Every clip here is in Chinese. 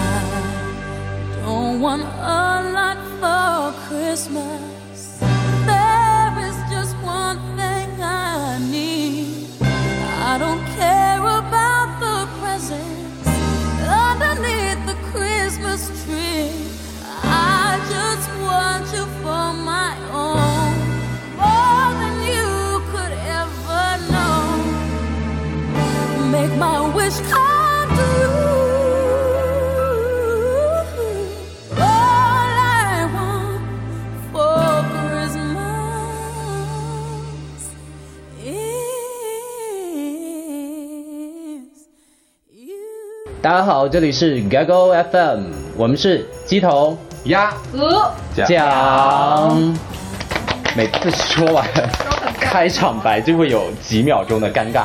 I don't want a lot for Christmas. There is just one thing I need. I don't care about the presents underneath the Christmas tree. I just want you for my own, more than you could ever know make my wish come true. All I want for Christmas is you. 大家好，这里是 Gago FM，我们是鸡头鸭讲。每次说完开场白就会有几秒钟的尴尬。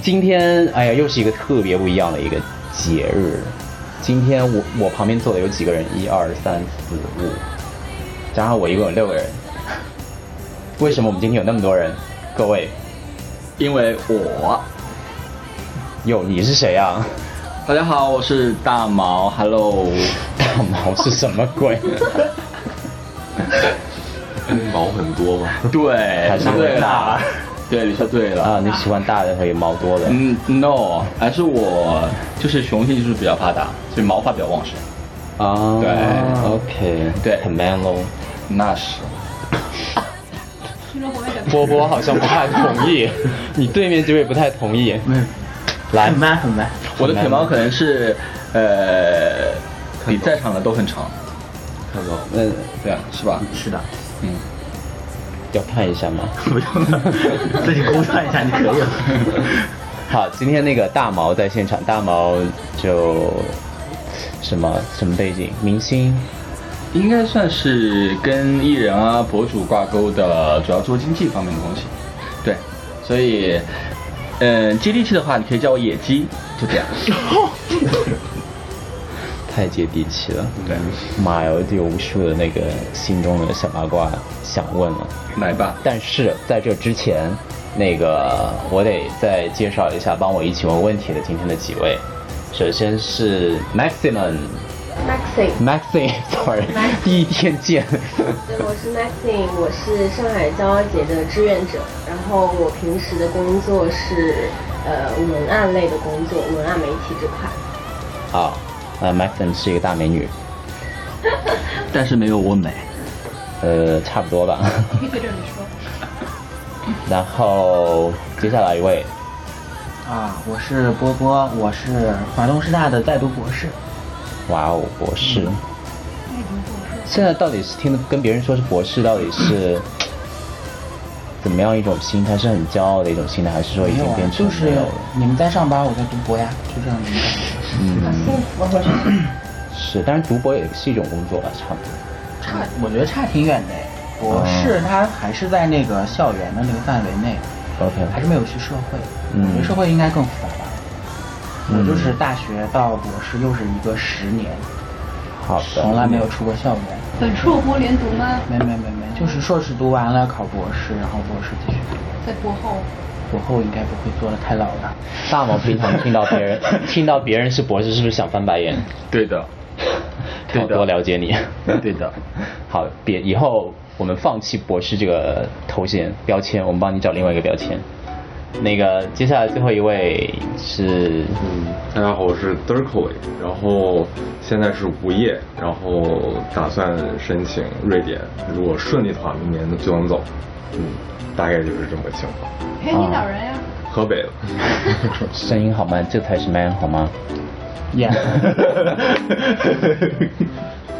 今天，哎呀，又是一个特别不一样的一个节日。今天我我旁边坐的有几个人？一二三四五，加上我一共有六个人。为什么我们今天有那么多人？各位，因为我，哟，你是谁啊？大家好，我是大毛，Hello，大 毛是什么鬼？毛很多嘛，对，还是对大了，对，你说对了， 啊，你喜欢大的还有毛多的？嗯，no，还是我就是雄性激素比较发达，所以毛发比较旺盛。啊，对，OK，对很 man 喽。那是，波波好像不太同 意，你对面这位不太同意。来，慢很慢，我的腿毛可能是，呃，比在场的都很长，看到了嗯，对，啊是吧？是的，要看一下吗？不用了，自己估算一下就可以了。好，今天那个大毛在现场，大毛就什么什么背景？明星应该算是跟艺人啊、博主挂钩的，主要做经济方面的东西。对，所以，呃嗯，接地气的话，你可以叫我野鸡，就这样。嗯太接地气了。对，妈呀，我就有无数的那个心中的小八卦想问了。来吧，但是在这之前，那个我得再介绍一下帮我一起问问题的今天的几位。首先是 Maximum Maxine，Maxim，sorry，第一天见。对，我是 Maxine，我是上海骄傲节的志愿者。然后我平时的工作是呃文案类的工作，文案媒体这块。啊，呃，Maxim 是一个大美女，但是没有我美。呃，差不多吧。 然后接下来一位，啊，我是波波，我是华东师大的在读博士。哇哦，博士。嗯现在到底是听跟别人说是博士，到底嗯是怎么样一种心态？是很骄傲的一种心态，还是说已没经有啊变，成就是没有了？你们在上班，我在读博呀，就这样的一个感觉。是，当然读博也是一种工作吧，差不多。 差，我觉得差挺远的。博士他还是在那个校园的那个范围内，还 OK，是没有去社会。嗯我觉得社会应该更复杂吧。嗯我就是大学到博士又是一个十年，好从的。来没有出过校园。本硕博连读吗？没没没没，就是硕士读完了考博士，然后博士继续读。在博后，博后应该不会做的太老了。大毛平常听到别 人听到别人是博士，是不是想翻白眼？对的，对好的多了解你。对的。 好，别以后我们放弃博士这个头衔标签，我们帮你找另外一个标签。那个接下来最后一位是嗯，大家好，我是 d i r k o 然后现在是无业，然后打算申请瑞典，如果顺利的话，明年就能走。嗯，大概就是这么个情况。嘿，哎你哪人呀？河北 的，声音好吗？这才是 man 好吗？演、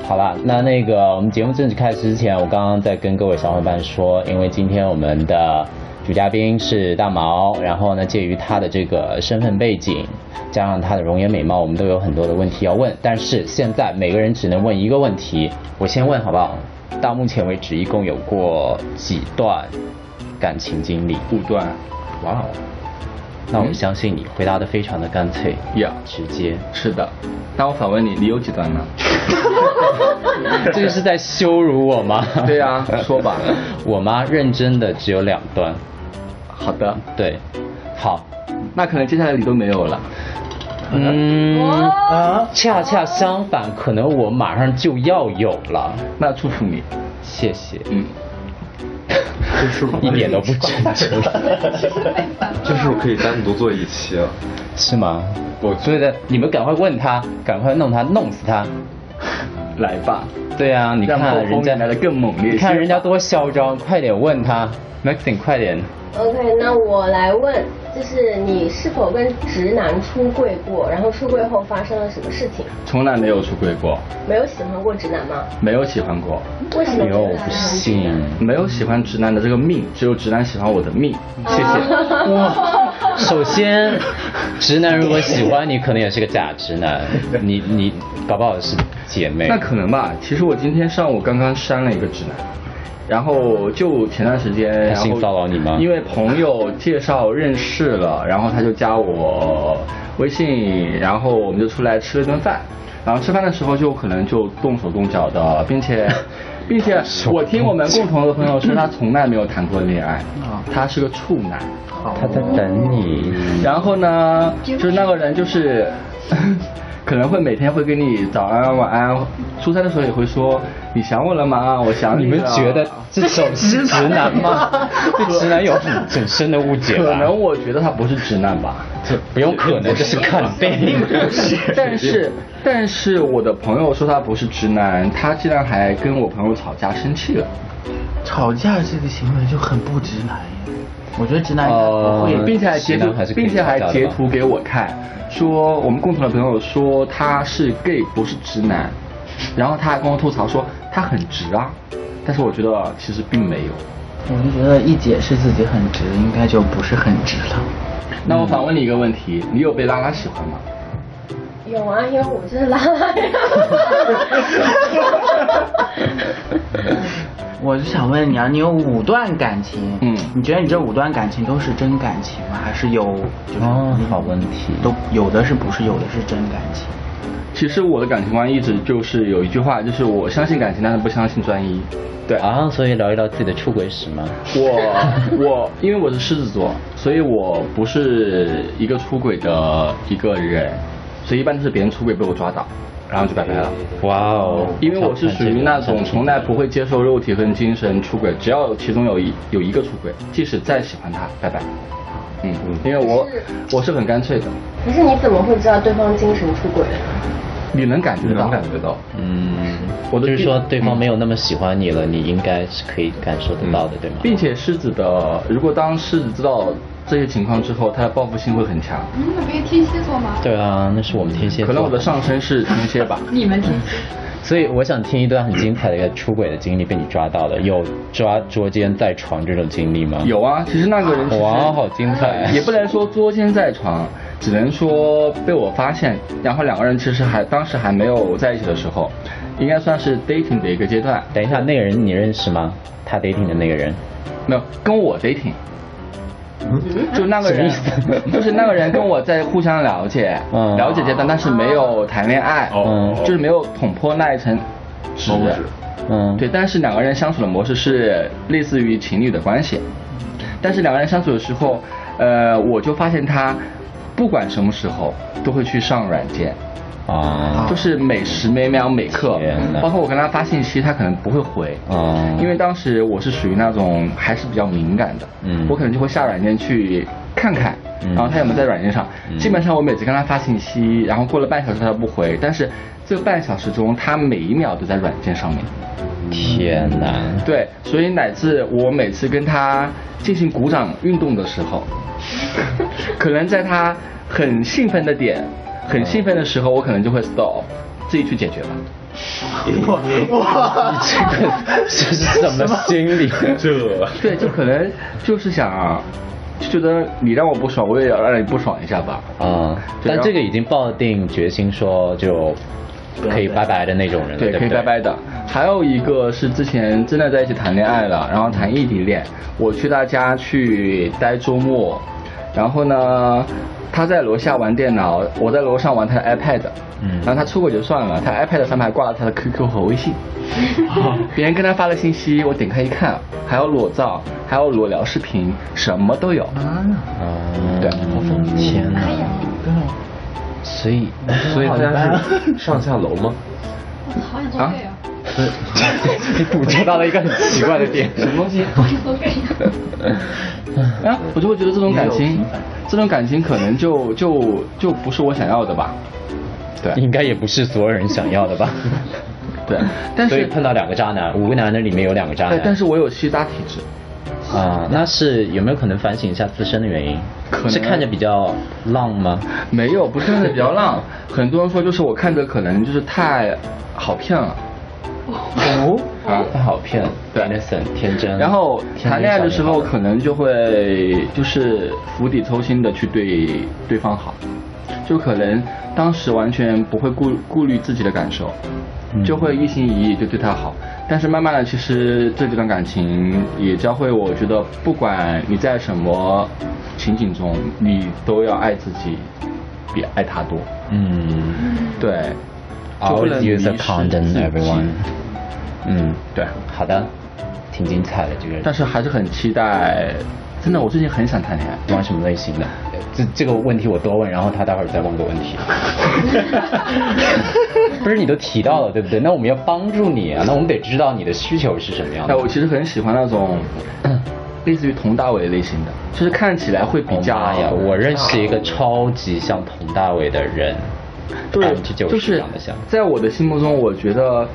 好啦，那那个我们节目正式开始之前，我刚刚在跟各位小伙伴说，因为今天我们的主嘉宾是大毛，然后呢，介于他的这个身份背景，加上他的容颜美貌，我们都有很多的问题要问。但是现在每个人只能问一个问题，我先问好不好？到目前为止，一共有过几段感情经历？五段，哇哦！那我相信你回答的非常的干脆，呀直接。是的。那我反问你，你有几 段呢？ 这个是在羞辱我吗？ 对啊说吧。 我妈认真的只有两段，好的，对，好，那可能接下来你都没有了。嗯，啊，恰恰相反，可能我马上就要有了。那祝福你，谢谢，嗯，就是我 一点都不真诚，就是可以单独做一期了。是吗？我觉得你们赶快问他，赶快弄他，弄死他。来吧，对啊，你让后看人风家来的更猛烈些。你看人家多嚣张，快点问他，Maxine，快点。 OK，那我来问，就是你是否跟直男出柜过？然后出柜后发生了什么事情？从来没有出轨过，没有喜欢过直男吗？没有喜欢过，为什么哎呦，直我男不信，没有喜欢直男的这个命，只有直男喜欢我的命。谢谢。哇！ 首先，直男如果喜欢你，可能也是个假直男， 你你搞不好是姐妹。那可能吧。其实我今天上午刚刚删了一个直男，然后就前段时间，然后性骚扰你吗因为朋友介绍认识了，然后他就加我微信，然后我们就出来吃了顿饭。然后吃饭的时候就可能就动手动脚的，并且， 并且我听我们共同的朋友说，他从来没有谈过 恋爱，啊他是个处男。他在等你。然后呢，就是那个人就是， 可能会每天会跟你早安晚安，出差的时候也会说你想我了吗？我想你了。们觉得这种是直男 吗？对啊直男有很很深的误解可吧？能我觉得他不是直男吧，不用可能，这是肯定。但是但是我的朋友说他不是直男，他竟然还跟我朋友吵架生气了。吵架这个行为就很不直男呀。我觉得直男应该哦不呃会嗯并且还截直图男还是，可以并且还吵架的截吧图给我看，说我们共同的朋友说他是 gay 不是直男，然后他还跟我吐槽说他很直啊，但是我觉得其实并没有。我就觉得一解释自己很直，应该就不是很直了。嗯那我反问你一个问题，你有被拉拉喜欢吗？ 有啊，因为我就是拉拉 呀。我就想问你啊，你有五段感情，嗯你觉得你这五段感情都是真感情吗？还是有就是哦，好问题。都有的是不是，有的是真感情？其实我的感情观一直就是有一句话，就是我相信感情，但是不相信专一。对，啊，所以聊一聊自己的出轨史吗？我我因为我是狮子座，所以我不是一个出轨的一个人，所以一般都是别人出轨被我抓到，然后就拜拜了。哇哦！因为我是属于那种从来不会接受肉体和精神出轨，只要其中有一有一个出轨，即使再喜欢他，拜拜。嗯，因为我我是很干脆的，可是你怎么会知道对方精神出轨呢？你能感觉你到，能感觉到，嗯，我的嗯就是地说对方没有那么喜欢你了，你应该是可以感受得到的，对吗？并且狮子的，如果当狮子知道这些情况之后，他的报复性会很强。嗯，那不是天蝎座吗？对啊，那是我们天蝎座。可能我的上身是天蝎吧，你们天蝎，所以我想听一段很精彩的一个出轨的经历，被你抓到的，有抓捉奸在床这种经历吗？。有啊，其实那个人其嗯实哇，好精彩！啊也不能说捉奸在床，只能说被我发现，然后两个人其实还当时还没有在一起的时候，应该算是 dating 的一个阶段，等一下，那个人你认识吗？他 dating 的那个人，没有跟我 dating，就那个人什么意思， 就是那个人跟我在互相了解，嗯了解阶段，但是没有谈恋爱，嗯就是没有捅破那一层纸，猫纸嗯，对，，但是两个人相处的模式是类似于情侣的关系，但是两个人相处的时候，呃，我就发现他不管什么时候都会去上软件，啊，就是每时每秒每刻天哪，包括我跟他发信息，他可能不会回，啊，因为当时我是属于那种还是比较敏感的，嗯我可能就会下软件去看看，嗯然后他有没有在软件上。嗯基本上我每次跟他发信息，然后过了半小时他都不回，但是这半小时中他每一秒都在软件上面。天哪，对，所以乃至我每次跟他进行鼓掌运动的时候，可能在他很兴奋的点、很兴奋的时候，我可能就会 stop，自己去解决吧。 这是什么心理？啊这对，就可能就是想，啊就觉得你让我不爽，我也要让你不爽一下吧。啊，对但然后这个已经抱定决心说就可以拜拜的那种人了，对，不可以拜拜的。还有一个是之前真的在一起谈恋爱了，然后谈异地恋，我去他家去待周末，然后呢，他在楼下玩电脑，我在楼上玩他的 iPad，嗯然后他出轨就算了，他 iPad 上面还挂了他的 QQ 和微 信，别人跟他发了信息，我点开一看，还有裸照，还有裸聊视啊 频，什么都有。啊，啊，对天哪，对，所 以，所以好一大般家啊是上下楼吗？我好想做啊 gay 啊！你捕捉到了一个很奇怪的点。什么东西？好想做 gay 啊！啊，我就会觉得这种感也有情平凡，这种感情可能就就就不是我想要的吧。对应该也不是所有人想要的吧？对， 但所以是碰到两个渣男，五个男人里面有两个渣对男。，但是我有吸渣体质，啊、那是有没有可能反省一下自身的原因？可能是看着比较浪吗？没有，不是看着比较 浪。很多人说就是我看着可能就是太好骗了。哦，啊太好骗了对，innocent 天真。然后天真谈恋爱的时候少年可能就会就是釜底抽薪的去对对方好，就可能当时完全不会顾顾虑自己的感受，嗯就会一心一意就对他好。但是慢慢的，其实这几段感情也教会我，觉得不管你在什么情景中，你都要爱自己比爱他多。嗯对，就不，always 能迷 use 失 a condom 自己 everyone。嗯，对，好的，挺精彩的这个人。但是还是很期待。真的，我最近很想谈恋爱。玩什么类型的？呃这这个问题我多问，然后他待会儿再问个问 题。不是你都提到了对不对？那我们要帮助你啊，那我们得知道你的需求是什么样哎，的。我其实很喜欢那种嗯类似于佟大为类型的，就是看起来会比较。妈哦呀！我认识一个超级像佟大为的人，百对分之，九就十是长得像。在我的心目中，我觉得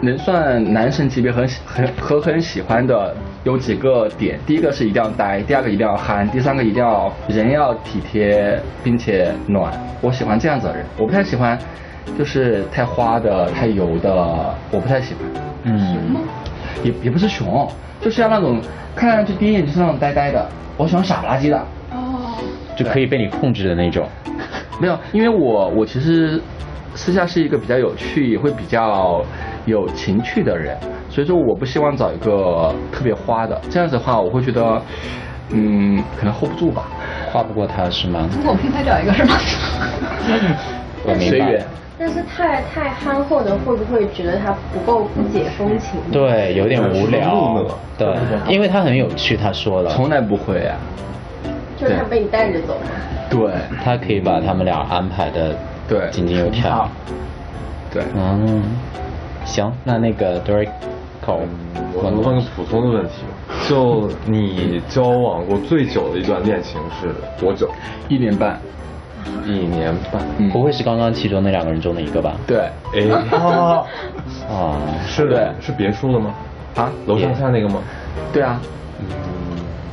能算男神级别很喜很和很喜欢的有几个点，第一个是一定要呆，第二个一定要憨，第三个一定要人要体贴并且暖。我喜欢这样子的人，我不太喜欢就是太花的、太油的，我不太喜欢。嗯，也也不是熊，就是要那种看上去第一眼就是那种呆呆的。我喜欢傻不拉几的，哦，就可以被你控制的那种。没有，因为我我其实私下是一个比较有趣，也会比较有情趣的人，所以说我不希望找一个特别花的，这样子的话我会觉得，嗯，可能 hold 不住吧。跨不过他是吗？通过我平台找一个是吗？我明随白缘。但是太太憨厚的，会不会觉得他不够不解风情？对，有点无路聊呢。对，因为他很有趣，他说了，从来不会啊。就是他被你带着走嘛。对他可以把他们俩安排的对井井有条。对，嗯，行，那那个 Dorico，嗯我能问个普通的问题吗，就你交往过最久的一段恋情是多久？一年半，一年半。嗯，不会是刚刚其中那两个人中的一个吧？对 哎，哦，哦，是对是别墅的吗？啊，楼上下那个吗？对啊，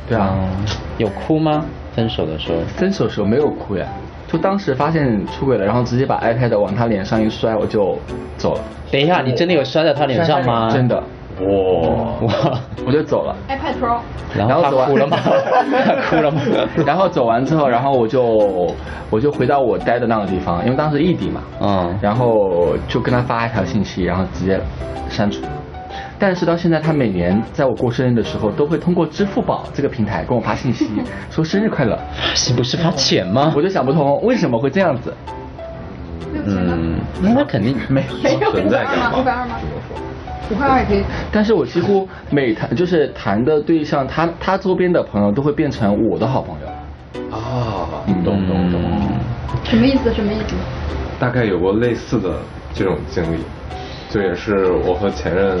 对啊。嗯，有哭吗？分手的时候，分手时候没有哭呀，就当时发现出轨了，然后直接把 iPad 往他脸上一摔，我就走了，等一下，你真的有摔在他脸上吗？嗯真的，哇，哇，我就走了。 iPad Pro，然后啊他哭了 吗？他哭了吗？然后走完之后，然后我就我就回到我待的那个地方，因为当时异地嘛，嗯，然后就跟他发一条信息，然后直接删除。但是到现在，他每年在我过生日的时候，都会通过支付宝这个平台跟我发信息，说生日快乐。是不是发钱吗我？就想不通为什么会这样子。没有钱吗？嗯，那他肯定没没有存在感五百吧二吗？只能说。五块二也可以。但是我几乎每谈就是谈的对象，他他周边的朋友都会变成我的好朋友。啊，嗯懂懂懂，嗯什么意思？什么意思？大概有过类似的这种经历，就也是我和前任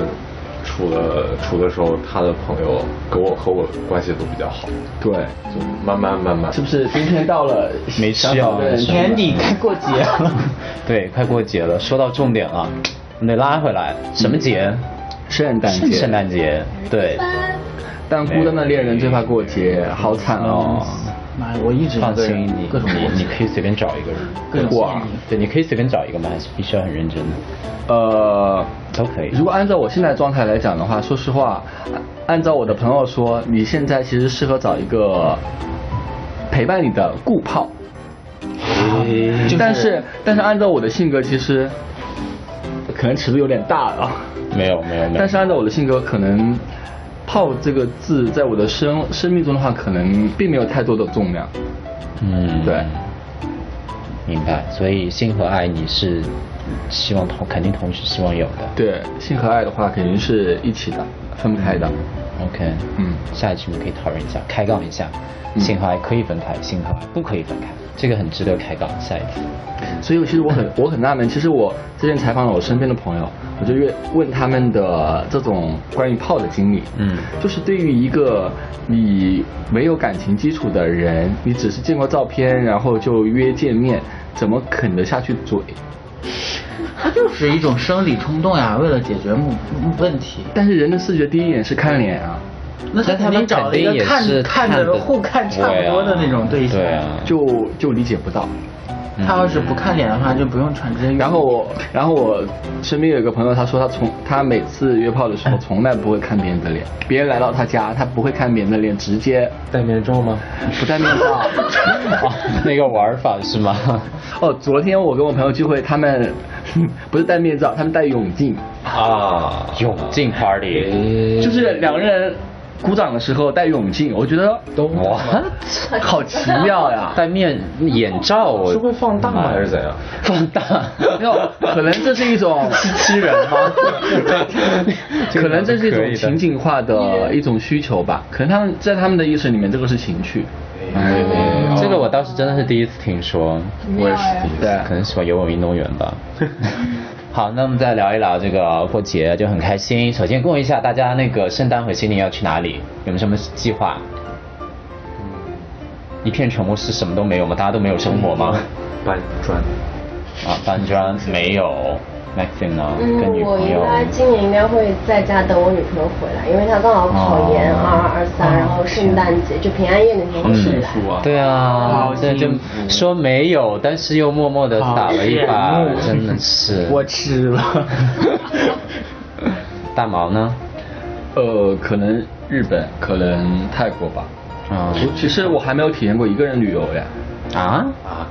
处了处的时候，他的朋友跟我和我关系都比较好，对，就慢慢慢慢是，不是今天到了没想吃找药个人没吃啊年底该过节了，对，快过节了，说到重点了，我们得拉回来。什么节？圣诞节，圣诞节。对，但孤单的恋人最怕过节，好惨哦。 妈呀，我一直一放个心，人你各种你过你节，可以随便找一个人。各种过啊过年对，你可以随便找一个吗？还是必须要很认真的？呃，都可以。如果按照我现在状态来讲的话，说实话，按按照我的朋友说，你现在其实适合找一个陪伴你的固炮。就是但是但是按照我的性格，其实可能尺度有点大了。没有没有嗯没有。但是按照我的性格，可能“泡”这个字在我的生生命中的话，可能并没有太多的重量。嗯，对，明白。所以心和爱你是希望同肯定同时希望有的。对，性和爱的话肯定是一起的，分不开的。 OK，嗯下一期我们可以讨论一下，开杠一下。幸好还可以分开，幸好还不可以分开，这个很值得开杠。下一题，所以我其实我很我很纳闷，其实我之前采访了我身边的朋友，我就越问他们的这种关于炮的经历，嗯就是对于一个你没有感情基础的人，你只是见过照片，然后就约见面，怎么啃得下去嘴？它就是一种生理冲动呀，为了解决目目问题。但是人的视觉第一眼是看脸啊，那他但他肯们定找肯了一定个也看是看的着互看差不多的那种对象。啊，就就理解不到。嗯他要是不看脸的话，就不用传这些。然后我，然后我身边有一个朋友，他说他从他每次约炮的时候，哎从来不会看别人的脸，别人来到他家，他不会看别人的脸，直接戴面罩吗？不戴面 罩。 哦那个玩法是吗？哦，昨天我跟我朋友聚会，他们 不是戴面罩，他们戴泳镜，啊，泳镜 party，哎嗯就是两个人鼓掌的时候戴泳镜，我觉得都哇，好奇妙呀。戴面眼罩我是会放大吗？还是怎样？放大？没有，可能这是 一种吃人吗？ 可能这是一可以种的情景化的一种需求吧，可能他们在他们的意识里面，这个是情趣。哎这个我倒是真的是第一次听说，我也哎是对，可能喜欢游泳运动员 吧。好，那我们再聊一聊这个过节就很开心。首先问一下大家，那个圣诞和新年要去哪里？有没有什么计划？一片沉默是什么都没有吗？大家都没有生活吗？搬砖。啊，搬砖没有，Maxine 呢？嗯跟，女我朋应友该今年应该会在家等我女朋友回来，因为她刚好考研哦二二二三，然后圣诞节就平安夜那天嗯会回来。啊对啊，这就说没有，但是又默默的打了一把好羡慕，真的是。我吃了。 大毛呢？呃，可能日本，可能泰国吧。啊我其实我还没有体验过一个人旅游呀，啊！啊，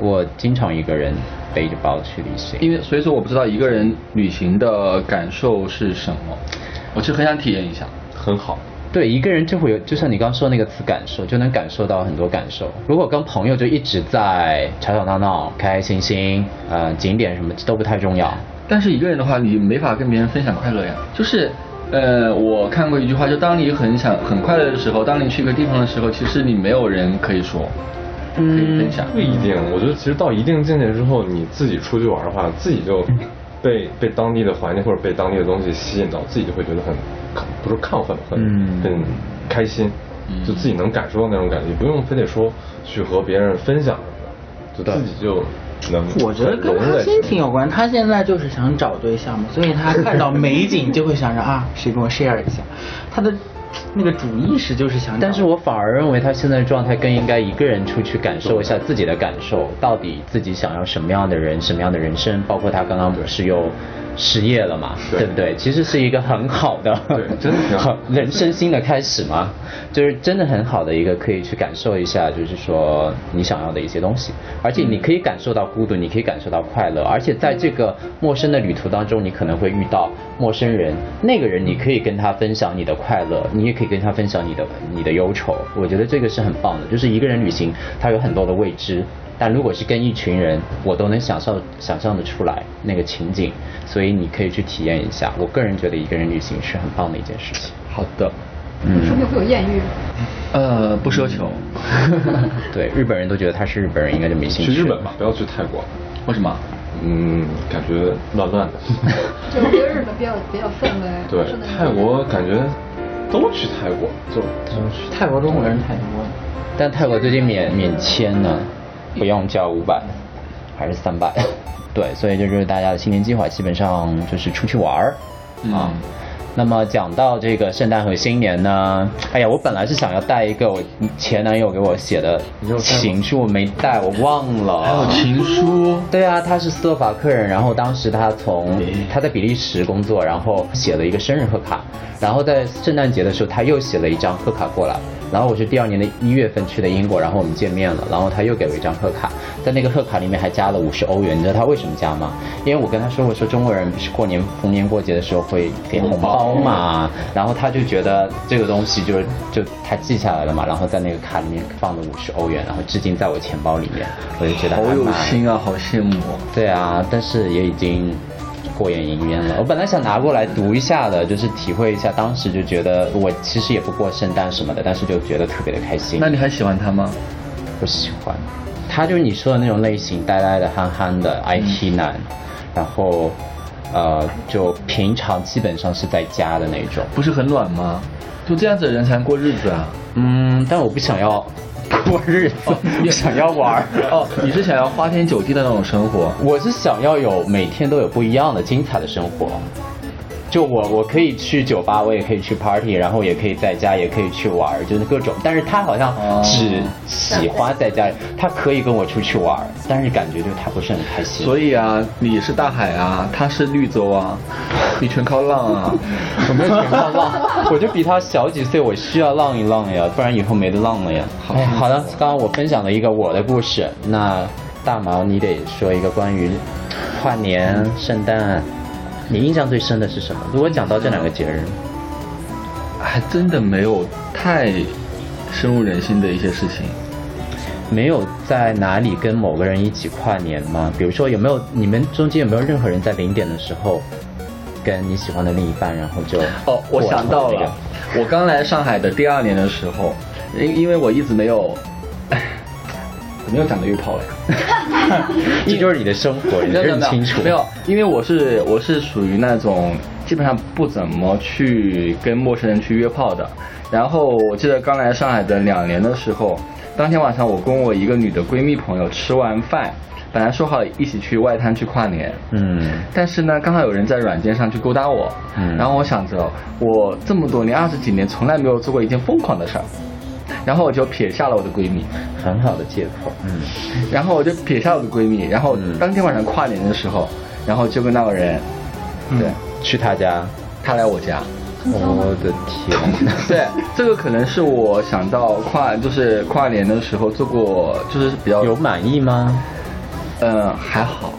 我经常一个人背着包去旅行。因为所以说我不知道一个人旅行的感受是什么，我其实很想体验一下。很好。对，一个人就会有，就像你刚刚说那个词“感受”，就能感受到很多感受。如果跟朋友就一直在吵吵闹闹、开开心心，呃，景点什么都不太重要。嗯但是一个人的话，你没法跟别人分享快乐呀。就是，呃，我看过一句话，就当你很想很快乐的时候，当你去一个地方的时候，其实你没有人可以说，可以分享。不嗯一定，我觉得其实到一定境界之后，你自己出去玩的话，自己就被被当地的环境或者被当地的东西吸引到，自己就会觉得很不是亢奋，很嗯很开心，就自己能感受到那种感觉，不用非得说去和别人分享什么的，就自己就能 我觉得跟融入他在心其情有关，他现在就是想找对象嘛，所以他看到美景就会想着啊，谁跟我 share 一下，他的那个主意识就是想找。但是我反而认为他现在的状态更应该一个人出去感受一下自己的感受，到底自己想要什么样的人，什么样的人生，包括他刚刚不是又失业了嘛，对对不对？其实是一个很好的，对真的挺好 人生新的开始嘛，就是真的很好的一个可以去感受一下，就是说你想要的一些东西，而且你可以感受到孤独，你可以感受到快乐，而且在这个陌生的旅途当中，你可能会遇到陌生人，那个人你可以跟他分享你的快乐，你也可以跟他分享你的你的忧愁，我觉得这个是很棒的，就是一个人旅行，他有很多的未知。但如果是跟一群人，我都能想象想象得出来那个情景，所以你可以去体验一下。我个人觉得一个人旅行是很棒的一件事情。好的，说不嗯 定会有艳遇。呃，不奢求。对，日本人都觉得他是日本人，应该就没兴实趣。去日本吧，，不要去泰国，为什么？嗯，感觉乱乱的。就我觉得日本比较比较氛围，对是那，种泰国感觉都去泰国，就都去泰国中国人太多了，但泰国最近免免签呢，不用交五百，还是三百。 对，所以这就是大家的新年计划，基本上就是出去玩儿。啊、那么讲到这个圣诞和新年呢，哎呀，我本来是想要带一个我前男友给我写的情书，我没带，我忘了。还有情书。对啊，他是斯洛伐克人，然后当时他从他在比利时工作，然后写了一个生日贺卡，然后在圣诞节的时候他又写了一张贺卡过来，然后我是第二年的一月份去的英国，然后我们见面了，然后他又给我一张贺卡，在那个贺卡里面还加了五十欧元，你知道他为什么加吗？因为我跟他说我说中国人不是过年逢年过节的时候会给红包嘛，然后他就觉得这个东西就是就他记下来了嘛，然后在那个卡里面放了五十欧元，然后至今在我钱包里面，我就觉得好还有蛮心啊，好羡慕、哦。对啊，但是也已经过眼云烟了。我本来想拿过来读一下的，就是体会一下，当时就觉得我其实也不过圣诞什么的，但是就觉得特别的开心。那你还喜欢他吗？不喜欢。他就是你说的那种类型，呆呆的、憨憨的 IT 男，然后呃，就平常基本上是在家的那种。不是很暖吗？就这样子的人才能过日 子啊！嗯，但我不想要过日子，也想要玩儿。 哦，你是想要花天酒地的那种生活？我是想要有每天都有不一样的精彩的生活。就我，我可以去酒吧，我也可以去 party，然后也可以在家，也可以去玩儿，就是各种。但是他好像哦只喜欢在家里，他可以跟我出去玩儿，但是感觉就他不是很开心。所以啊，你是大海啊，他是绿洲啊，你全靠 浪啊！我没有全靠浪， 我就比他小几岁，我需要浪一浪呀，不然以后没得浪了呀。好哎，好的，刚刚我分享了一个我的故事，那大毛你得说一个关于跨年、圣诞，你印象最深的是什么？如果讲到这两个节日，还真的没有太深入人心的一些事情。没有在哪里跟某个人一起跨年吗？比如说有没有你们中间有没有任何人在零点的时候？跟你喜欢的另一半，然后就哦，我过想到这个了，我刚来上海的第二年的时候，因因为我一直没有，哎，怎么又讲到浴泡 了呀？这就是你的生活，你没有没有认清楚。没有，因为我是我是属于那种基本上不怎么去跟陌生人去约炮的。然后我记得刚来上海的两年的时候，当天晚上我跟我一个女的闺蜜朋友吃完饭，本来说好一起去外滩去跨年，嗯，但是呢，刚好有人在软件上去勾搭我，嗯然后我想着，我这么多年二十几年从来没有做过一件疯狂的事儿，然后我就撇下了我的闺蜜，很好的借口。嗯，然后我就撇下我的闺蜜，然后嗯当天晚上跨年的时候，然后就跟那个人，对，去他家，他来我家， 我的天，对，这个可能是我想到跨就是跨年的时候做过，就是比较有，满意吗？嗯，还好，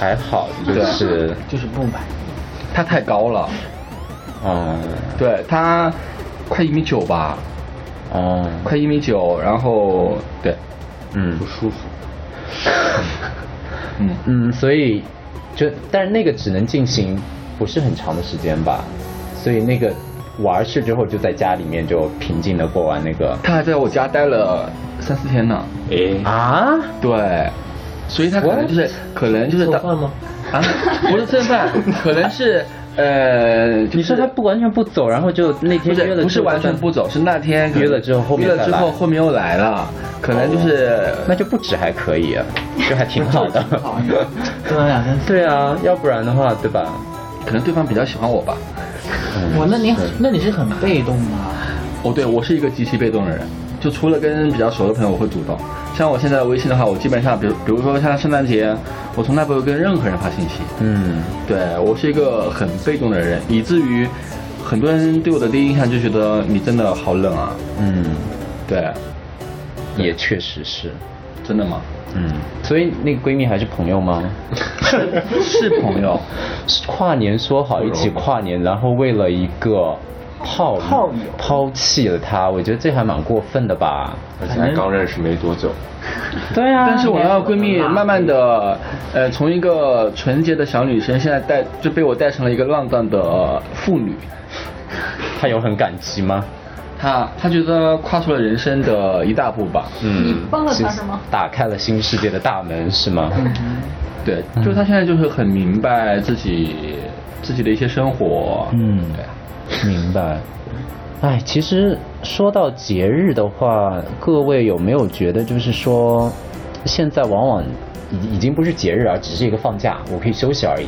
还好，就是，就是不买。他太高了，嗯，对他快一米九吧，哦，快一米九，然后对，嗯不舒服。嗯。嗯，所以就，但是那个只能进行不是很长的时间吧，所以那个完事之后就在家里面就平静的过完那个他还在我家待了三四天呢。哎，啊，对，所以他可能就是 What？可能就是做饭吗？啊，不是正饭，可能是呃，就是你说他不完全不走，然后就那不天约是了，不是完全不，走，是那天可能约了之后后面约了之再后来哦后面又来了，可能就是那就不止还可以啊，就还挺好 的。做了两三次。 对啊，要不然的话，对吧？可能对方比较喜欢我吧。我那你很那你是很被动吗？哦，对，我是一个极其被动的人，就除了跟比较熟的朋友，我会主动。像我现在的微信的话，我基本上，比如比如说像圣诞节，我从来不会跟任何人发信息。嗯，对我是一个很被动的人，以至于很多人对我的第一印象就觉得你真的好冷啊。嗯，对，也确实是，真的吗？嗯，所以那个闺蜜还是朋友 吗？是朋友，是跨年说好一起跨年，然后为了一个炮友炮友抛弃了她，我觉得这还蛮过分的吧？而且还刚认识没多久，对啊但是我那个闺蜜慢慢的，呃，从一个纯洁的小女生，现在带就被我带成了一个浪荡的妇女。她有很感激吗？她她觉得跨出了人生的一大步吧。你嗯，帮了她是吗？嗯打开了新世界的大门是吗？对，嗯就她现在就是很明白自己自己的一些生活。嗯对。 明白。哎，其实说到节日的话，各位有没有觉得，就是说，现在往往已已经不是节日啊而只是一个放假，我可以休息而已。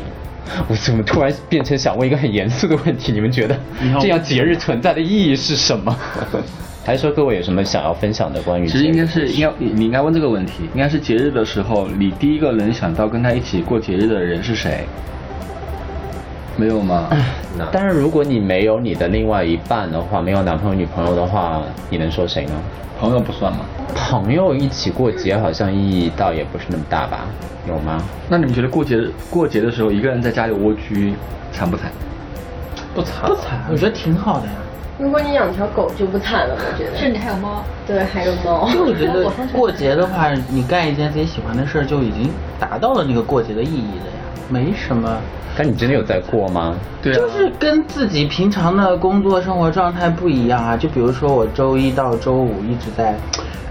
我怎么突然变成想问一个很严肃的问题？你们觉得这样节日存在的意义是什么？ 还是说各位有什么想要分享的关于？其实应该是应该你你应该问这个问题，应该是节日的时候，你第一个能想到跟他一起过节日的人是谁？没有吗？ 那但是如果你没有你的另外一半的话，没有男朋友女朋友的话，你能说谁呢？朋友不算吗？朋友一起过节好像意义倒也不是那么大吧？有吗？那你们觉得过节过节的时候一个人在家里蜗居惨不惨？不惨不惨，我觉得挺好的呀。如果你养条狗就不惨了，我觉是得。你还有猫，对，还有猫。因为我觉得过节的话，你干一件自己喜欢的事儿，就已经达到了那个过节的意义了呀。没什么，但你真的有在过吗？对啊就，是跟自己平常的工作生活状态不一样啊。就比如说我周一到周五一直在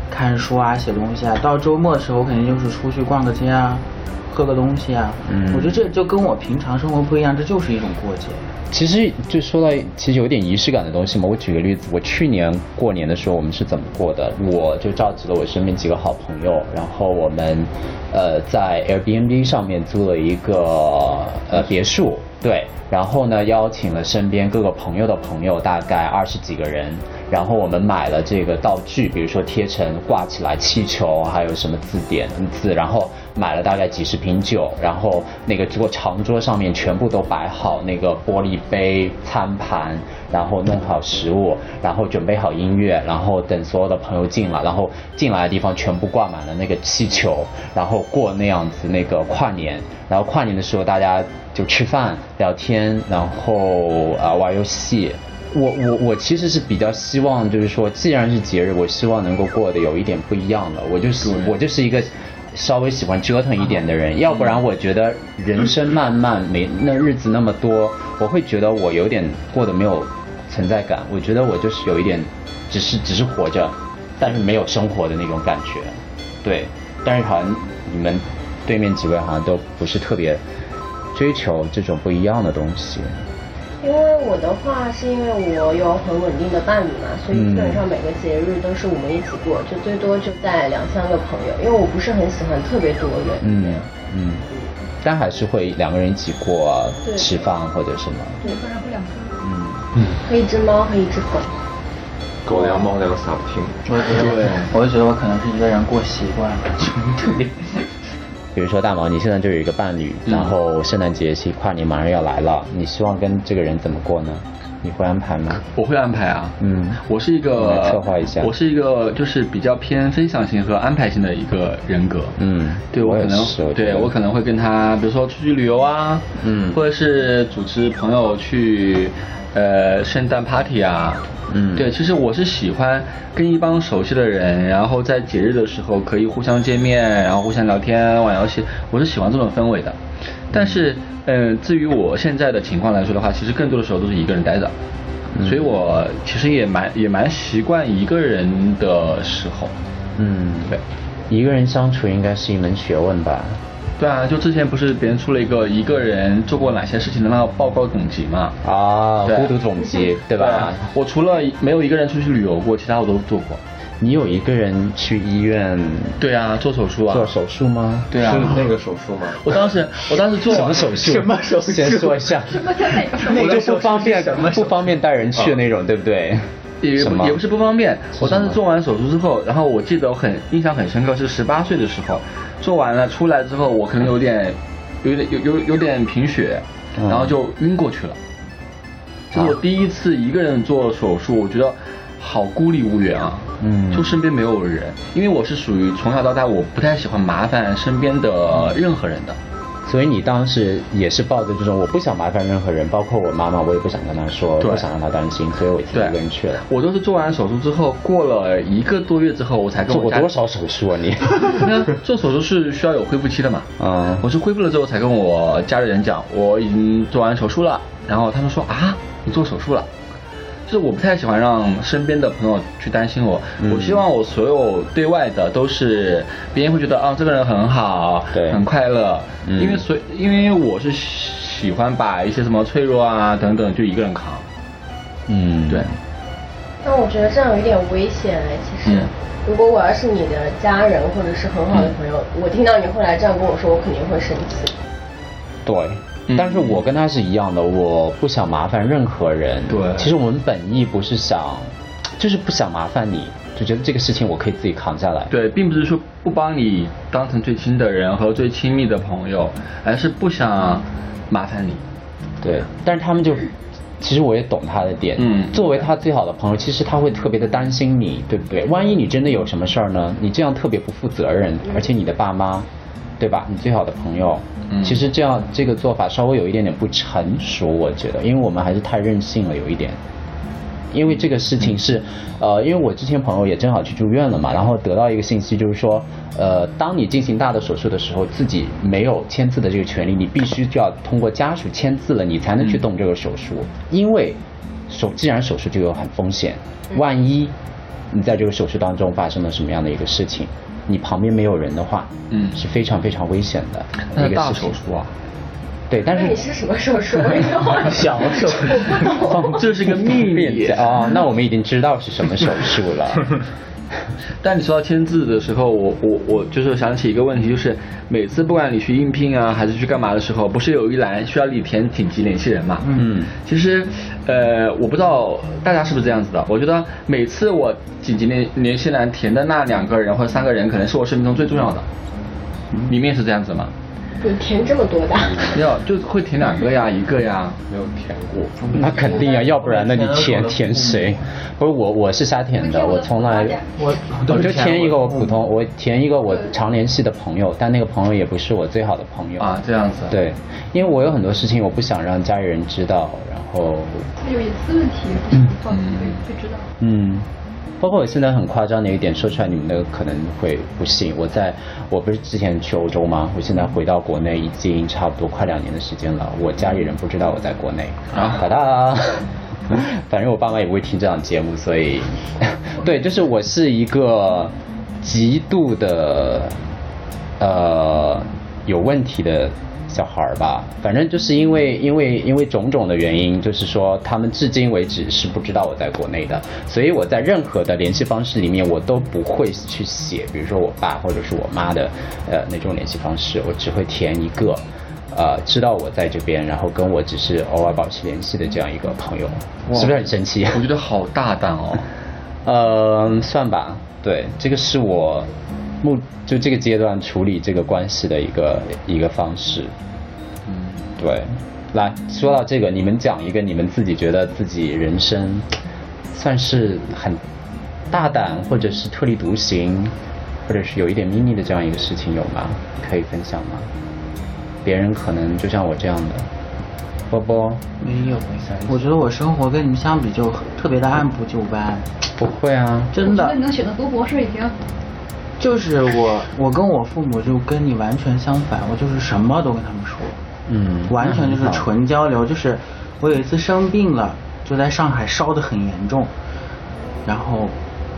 看书啊、写东西啊，到周末的时候肯定就是出去逛个街啊、喝个东西啊。嗯我觉得这就跟我平常生活不一样，这就是一种过节。其实就说到，其实有点仪式感的东西嘛。我举个例子，我去年过年的时候，我们是怎么过的？我就召集了我身边几个好朋友，然后我们，呃，在 Airbnb 上面租了一个呃别墅，对，然后呢邀请了身边各个朋友的朋友，大概二十几个人，然后我们买了这个道具，比如说贴成挂起来气球，还有什么字典嗯字，然后买了大概几十瓶酒，然后那个桌长桌上面全部都摆好那个玻璃杯、餐盘，然后弄好食物，然后准备好音乐，然后等所有的朋友进来，然后进来的地方全部挂满了那个气球，然后过那样子那个跨年，然后跨年的时候大家就吃饭、聊天，然后啊、呃玩游戏。我我我其实是比较希望，就是说，既然是节日，我希望能够过得有一点不一样的。我就是我就是一个稍微喜欢折腾一点的人，要不然我觉得人生漫漫，没那日子那么多，我会觉得我有点过得没有存在感。我觉得我就是有一点，只是只是活着，但是没有生活的那种感觉。对，但是好像你们对面几位好像都不是特别追求这种不一样的东西。因为我的话是因为我有很稳定的伴侣嘛，所以基本上每个节日都是我们一起嗯过，就最多就在两三个朋友，因为我不是很喜欢特别多人。嗯嗯，但还是会两个人一起过啊对吃饭或者什么。一个人和两个人，和一只猫和一只狗。狗哦粮猫粮撒不停。我觉得，我就觉得我可能是一个人过习惯了，对。比如说大毛，你现在就有一个伴侣，然后圣诞节是跨年马上要来了，你希望跟这个人怎么过呢？你会安排吗？我会安排啊。嗯我是一我个来策划一下我是一个就是比较偏分享型和安排型的一个人格。嗯对我可也能是我觉对得我可能会跟他，比如说出去旅游啊，嗯或者是组织朋友去呃圣诞 party 啊。嗯对，其实我是喜欢跟一帮熟悉的人，然后在节日的时候可以互相见面，然后互相聊天、玩游戏，我是喜欢这种氛围的。但是，嗯、至于我现在的情况来说的话，其实更多的时候都是一个人待着，嗯所以我其实也蛮也蛮习惯一个人的时候。嗯，对，一个人相处应该是一门学问吧？对啊，就之前不是别人出了一个一个人做过哪些事情的那个报告总集嘛？啊，对孤独总 结，对啊吧？我除了没有一个人出去旅游过，其他我都做过。你有一个人去医院对啊，做手术啊。做手术吗？对啊是，那个手术吗？我 当时我当时做什么手术？嗯什么手术？先说一下。那我个都不方便，不方便带人去的那种，对不对？也什么也不是不方便。是我当什时么做完手术之后，然后我记得我很印象很深刻，是十八岁的时候做完了出来之后，我可能有点有点有有有点贫血，嗯然后就晕过去了。这是我啊第一次一个人做手术，我觉得好孤立无援啊。嗯就身边没有人，因为我是属于从小到大我不太喜欢麻烦身边的任何人的。所以你当时也是抱着这种我不想麻烦任何人，包括我妈妈，我也不想跟她说，对不想让她担心，所以我自己一对个人去了。我都是做完手术之后，过了一个多月之后，我才跟做我过家多少手术啊 你？那做手术是需要有恢复期的嘛？嗯我是恢复了之后才跟我家里人讲，我已经做完手术了。然后他们说啊，你做手术了。就是我不太喜欢让身边的朋友去担心我，嗯我希望我所有对外的都是别人会觉得啊这个人很好，对很快乐，嗯因为所以因为我是喜欢把一些什么脆弱啊等等就一个人扛，嗯，对，但我觉得这样有点危险哎，其实。嗯如果我要是你的家人或者是很好的朋友，我听到你后来这样跟我说，我肯定会生气。对。嗯但是我跟她是一样的，我不想麻烦任何人。对其实我们本意不是想，就是不想麻烦你，就觉得这个事情我可以自己扛下来。对，并不是说不帮你当成最亲的人和最亲密的朋友，而是不想麻烦你。对，但是他们就，其实我也懂他的点。嗯作为他最好的朋友，其实他会特别的担心你，对不对？嗯万一你真的有什么事儿呢？你这样特别不负责任，而且你的爸妈，对吧？你最好的朋友，嗯其实这样这个做法稍微有一点点不成熟，我觉得，因为我们还是太任性了，有一点。因为这个事情是，呃，因为我之前朋友也正好去住院了嘛，然后得到一个信息就是说，呃，当你进行大的手术的时候，自己没有签字的这个权利，你必须就要通过家属签字了，你才能去动这个手术，嗯因为手既然手术就有很风险，嗯万一你在这个手术当中发生了什么样的一个事情，你旁边没有人的话，嗯是非常非常危险的那一个大事情手。术啊，对，但那你是是什么手术？我以后小手术， 这是个秘 密。哦，那我们已经知道是什么手术了。 但你说到签字的时候，我我我就是想起一个问题，就是每次不管你去应聘啊，还是去干嘛的时候，不是有一栏需要你填紧急联系人嘛？嗯其实，呃，我不知道大家是不是这样子的。我觉得每次我紧急联联系栏填的那两个人或者三个人，可能是我生命中最重要的。你们也是这样子吗？你填这么多的， 没有，就会填两个呀，一个呀。没有填过，那肯定啊，要不然那你填填谁？不是我，我是瞎填的，我从来我我就填一个我嗯普通。通，我填一个我常联系的朋友，但那个朋友也不是我最好的朋友啊，。这样子。。对，因为我有很多事情我不想让家里人知道，然后还有隐私问题，不是很好奇会会知道。嗯，包括我现在很夸张的一点，说出来你们的可能会不信。我在我不是之前去欧洲吗？我现在回到国内已经差不多快两年的时间了，我家里人不知道我在国内。啊哒哒。 反正我爸妈也不会听这档节目，所以， 对，就是我是一个极度的呃有问题的小孩儿吧。反正就是因为因为因为种种的原因，就是说他们至今为止是不知道我在国内的，所以我在任何的联系方式里面，我都不会去写，比如说我爸或者是我妈的呃那种联系方式，我只会填一个。呃，知道我在这边，然后跟我只是偶尔保持联系的这样一个朋友，是不是很神 奇？我觉得好大胆哦。呃，算吧，对，这个是我目就这个阶段处理这个关系的一个一个方式。对，来说到这个，你们讲一个你们自己觉得自己人生算是很大胆，或者是特立独行，或者是有一点秘密的这样一个事情有吗？可以分享吗？别人可能就像我这样的，波波没有，我觉得我生活跟你们相比就特别的按部就班，不会啊，真我觉得的你能选择读博士已经就是我，我跟我父母就跟你完全相反，我就是什么都跟他们说，嗯完全就是那很好纯交流。就是我有一次生病了，就在上海烧得很严重，然后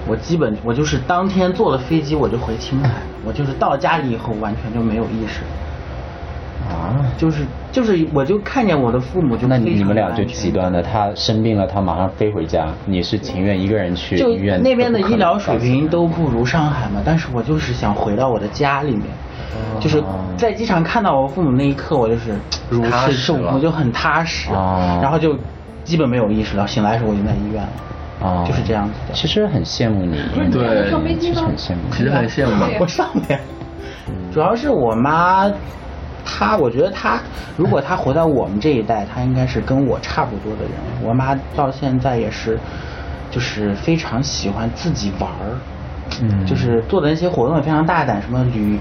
我基本我就是当天坐了飞机我就回青海，我就是到家里以后完全就没有意识，啊。就是就是我就看见我的父母就那非常你们俩不就安全极端了，他生病了，他马上飞回家，你是情愿一个人去就医院？那边的医疗水平都不如上海嘛，但是我就是想回到我的家里面，哦就是在机场看到我父母那一刻，我就是如踏释实重了负，就很踏实，哦然后就基本没有意识到，醒来的时候我已经在医院了，啊，就是这样子的。其实很羡慕你，对你上飞机其实吗？很羡慕其实很羡慕。对呀 我上面，主要是我妈，她我觉得她如果她活在我们这一代，她应该是跟我差不多的人。我妈到现在也是，就是非常喜欢自己玩儿，嗯就是做的那些活动也非常大胆，什么旅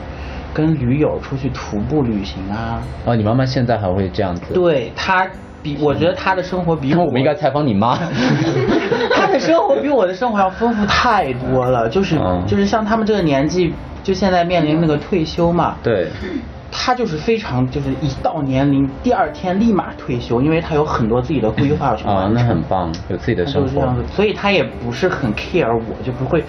跟驴友出去徒步旅行啊，哦，你妈妈现在还会这样子？，对她比我觉得她的生活比因为我 我们应该采访你 妈。他的生活比我的生活要丰富太多了，就是、嗯就是像他们这个年纪，就现在面临那个退休嘛，对，他就是非常就是一到年龄第二天立马退休，因为他有很多自己的规划要去完啊成。，那很棒，有自己的他就生是这样活子。，所以他也不是很 care 我，就不会，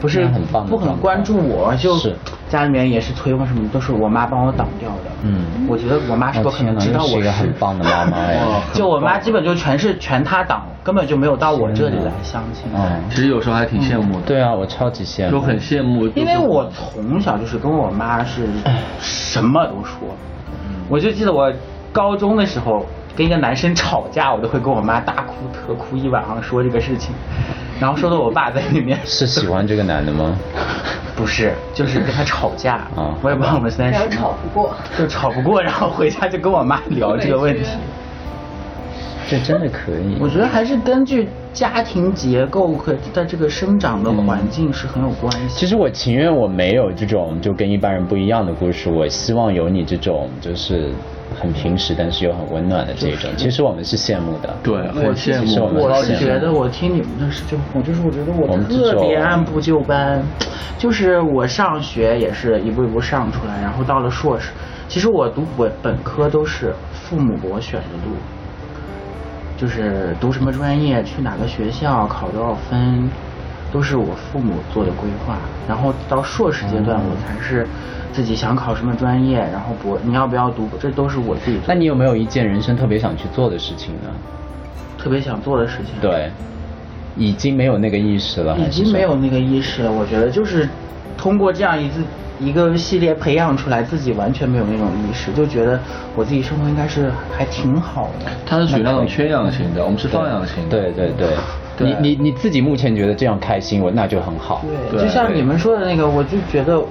不是那很棒的不很关注我，状态就是家里面也是催婚什么，都是我妈帮我挡掉的。嗯我觉得我妈是哦不可能天知哪道又是我一个很棒的妈妈哎哇 就我妈基本就全是全她挡，根本就没有到我这里天哪来相亲。嗯，其实有时候还挺羡慕的。对啊，我超级羡慕。就很羡慕，就是因为我从小就是跟我妈是什么都说，嗯我就记得我高中的时候跟一个男生吵架，我都会跟我妈大哭特哭一晚上说这个事情，然后说到我爸在里面是喜欢这个男的 吗？不是，就是跟他吵架啊我也不知道我们现在然后是吵不过。就吵不过，然后回家就跟我妈聊这个问题。这真的可以。我觉得还是根据家庭结构和在这个生长的环境是很有关系的。其实我情愿我没有这种就跟一般人不一样的故事，我希望有你这种就是很平实，但是又很温暖的这种。其实我们是羡慕的，对很羡慕其实我们我是羡觉慕的得我听你们的事情，我就是我觉得我我们特这别种按部就班，就是我上学也是一步一步上出来，然后到了硕士，其实我读本本科都是父母给我选的路，就是读什么专业、去哪个学校、考多少分，都是我父母做的规划。然后到硕士阶段，嗯我才是自己想考什么专业，然后博你要不要读，这都是我自己那你有没有一件人生特别想去做的事情呢？特别想做的事情。。对，已经没有那个意识了，已还是经没说有那个意识了。我觉得就是通过这样一次一个系列培养出来，自己完全没有那种意识，就觉得我自己生活应该是还挺好的。它是属于那种缺氧型的，我们是放养型的。对对对，对你你你自己目前觉得这样开心，我那就很好。对，对就像你们说的那个，我就觉得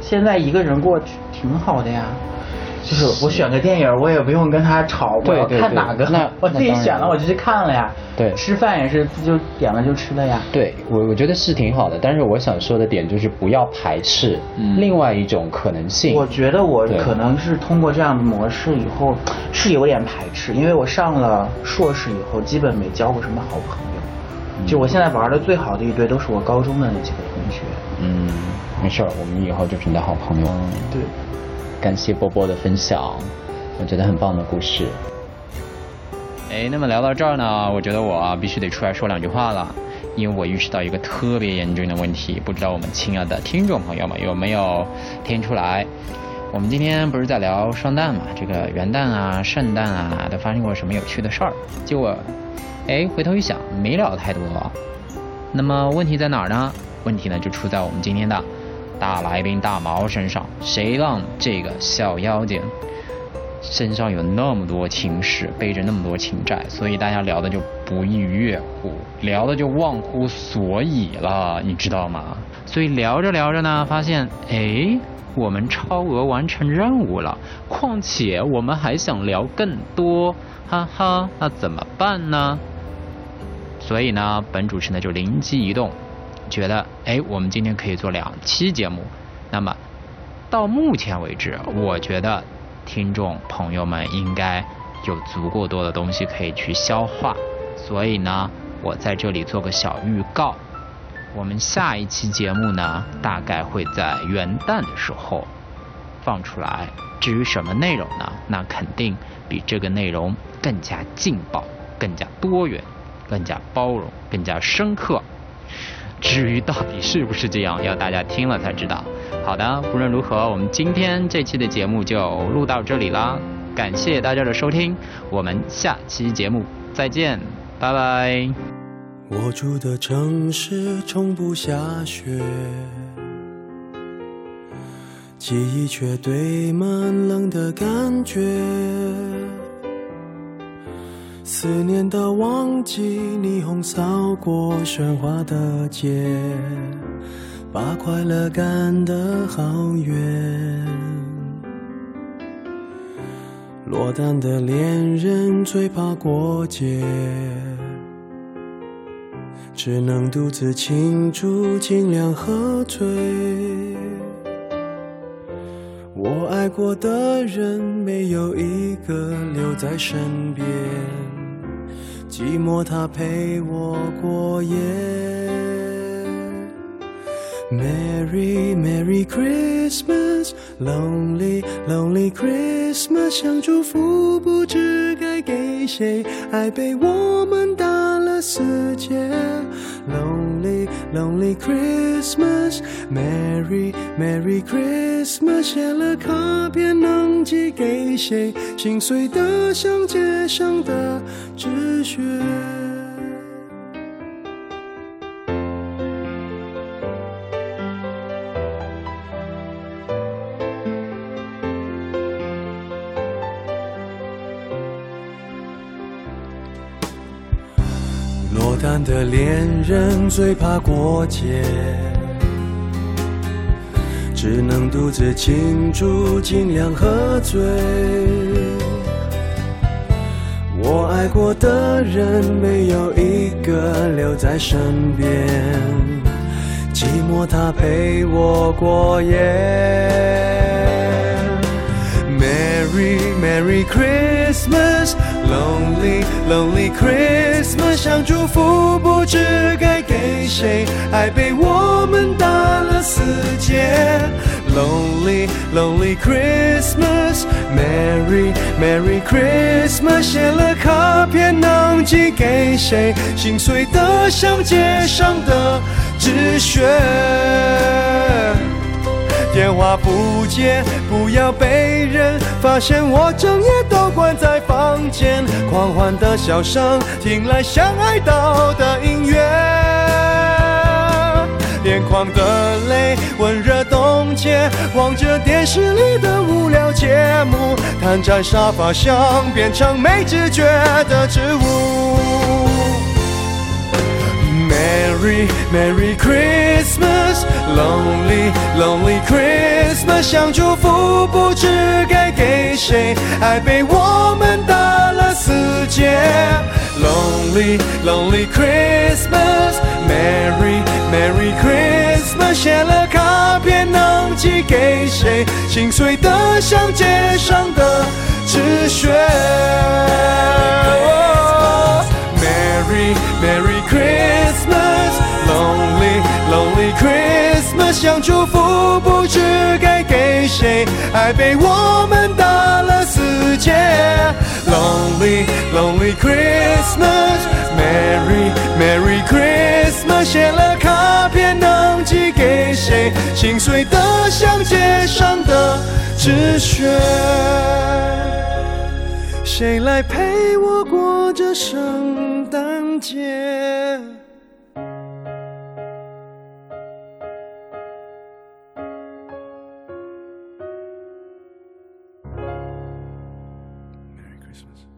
现在一个人过挺好的呀。就是我选个电影，我也不用跟他吵，我对要对看对哪个那， 我自那己当然选了了我就去看了呀。对吃饭也是就点了就吃了呀。对我我觉得是挺好的，但是我想说的点就是不要排斥嗯另外一种可能性。我觉得我对可能是通过这样的模式以后是有点排斥，因为我上了硕士以后，基本没交过什么好朋友。就我现在玩的最好的一堆都是我高中的那几个同学。嗯，没事儿，我们以后就是你的好朋友。对，感谢波波的分享，我觉得很棒的故事。哎，那么聊到这儿呢，我觉得我啊必须得出来说两句话了，因为我意识到一个特别严峻的问题，不知道我们亲爱的听众朋友们有没有听出来？我们今天不是在聊双旦嘛，这个元旦啊、圣诞啊都发生过什么有趣的事儿？结果，哎，回头一想，没聊太多。那么问题在哪儿呢？问题呢就出在我们今天的大来宾大毛身上，谁让这个小妖精身上有那么多情史，背着那么多情债，所以大家聊的就不亦乐乎，聊的就忘乎所以了，你知道吗？所以聊着聊着呢，发现哎，我们超额完成任务了，况且我们还想聊更多，哈哈，那怎么办呢？所以呢，本主持呢就灵机一动，觉得哎，我们今天可以做两期节目。那么到目前为止，我觉得听众朋友们应该有足够多的东西可以去消化，所以呢，我在这里做个小预告。我们下一期节目呢，大概会在元旦的时候放出来。至于什么内容呢？那肯定比这个内容更加劲爆、更加多元、更加包容、更加深刻。至于到底是不是这样，要大家听了才知道。好的，无论如何，我们今天这期的节目就录到这里啦，感谢大家的收听，我们下期节目再见，拜拜。我住的城市从不下雪，记忆却堆满冷的感觉。思念的旺季，霓虹扫过喧哗的街，把快乐赶得好远。落单的恋人最怕过节。只能独自庆祝，尽量喝醉。我爱过的人，没有一个留在身边，寂寞它陪我过夜。Merry Merry Christmas, Lonely Lonely Christmas，想祝福不知该给谁，爱被我们打了死结。Lonely Lonely Christmas，Merry Merry Christmas，写了卡片能寄给谁？心碎的像街上的纸屑。落单的恋人最怕过节，只能独自庆祝，尽量喝醉。我爱过的人没有一个留在身边，寂寞它陪我过夜。Merry Merry Merry Christmas。Lonely Lonely Christmas，想祝福不知该给谁，爱被我们打了死结。Lonely Lonely Christmas，Merry Merry Christmas，写了卡片能寄给谁？心碎的像街上的纸屑。电话不接，不要被人发现我整夜都关在房间，狂欢的笑声听来像哀悼的音乐。眼眶的泪温热冻结，望着电视里的无聊节目，瘫在沙发上变成没知觉的植物。Merry Merry Christmas, Lonely Lonely Christmas，想祝福不知该给谁，爱被我们打了死结。Lonely Lonely Christmas, Merry Merry Christmas，写了卡片能寄给谁？心碎的像街上的纸屑。Merry Merry Christmas, Lonely Lonely Christmas，想祝福不知该给谁，爱被我们打了死结。Lonely Lonely Christmas, Merry Merry Christmas，写了卡片能寄给谁？心碎的像街上的纸屑。谁来陪我过这圣诞节？Merry Christmas.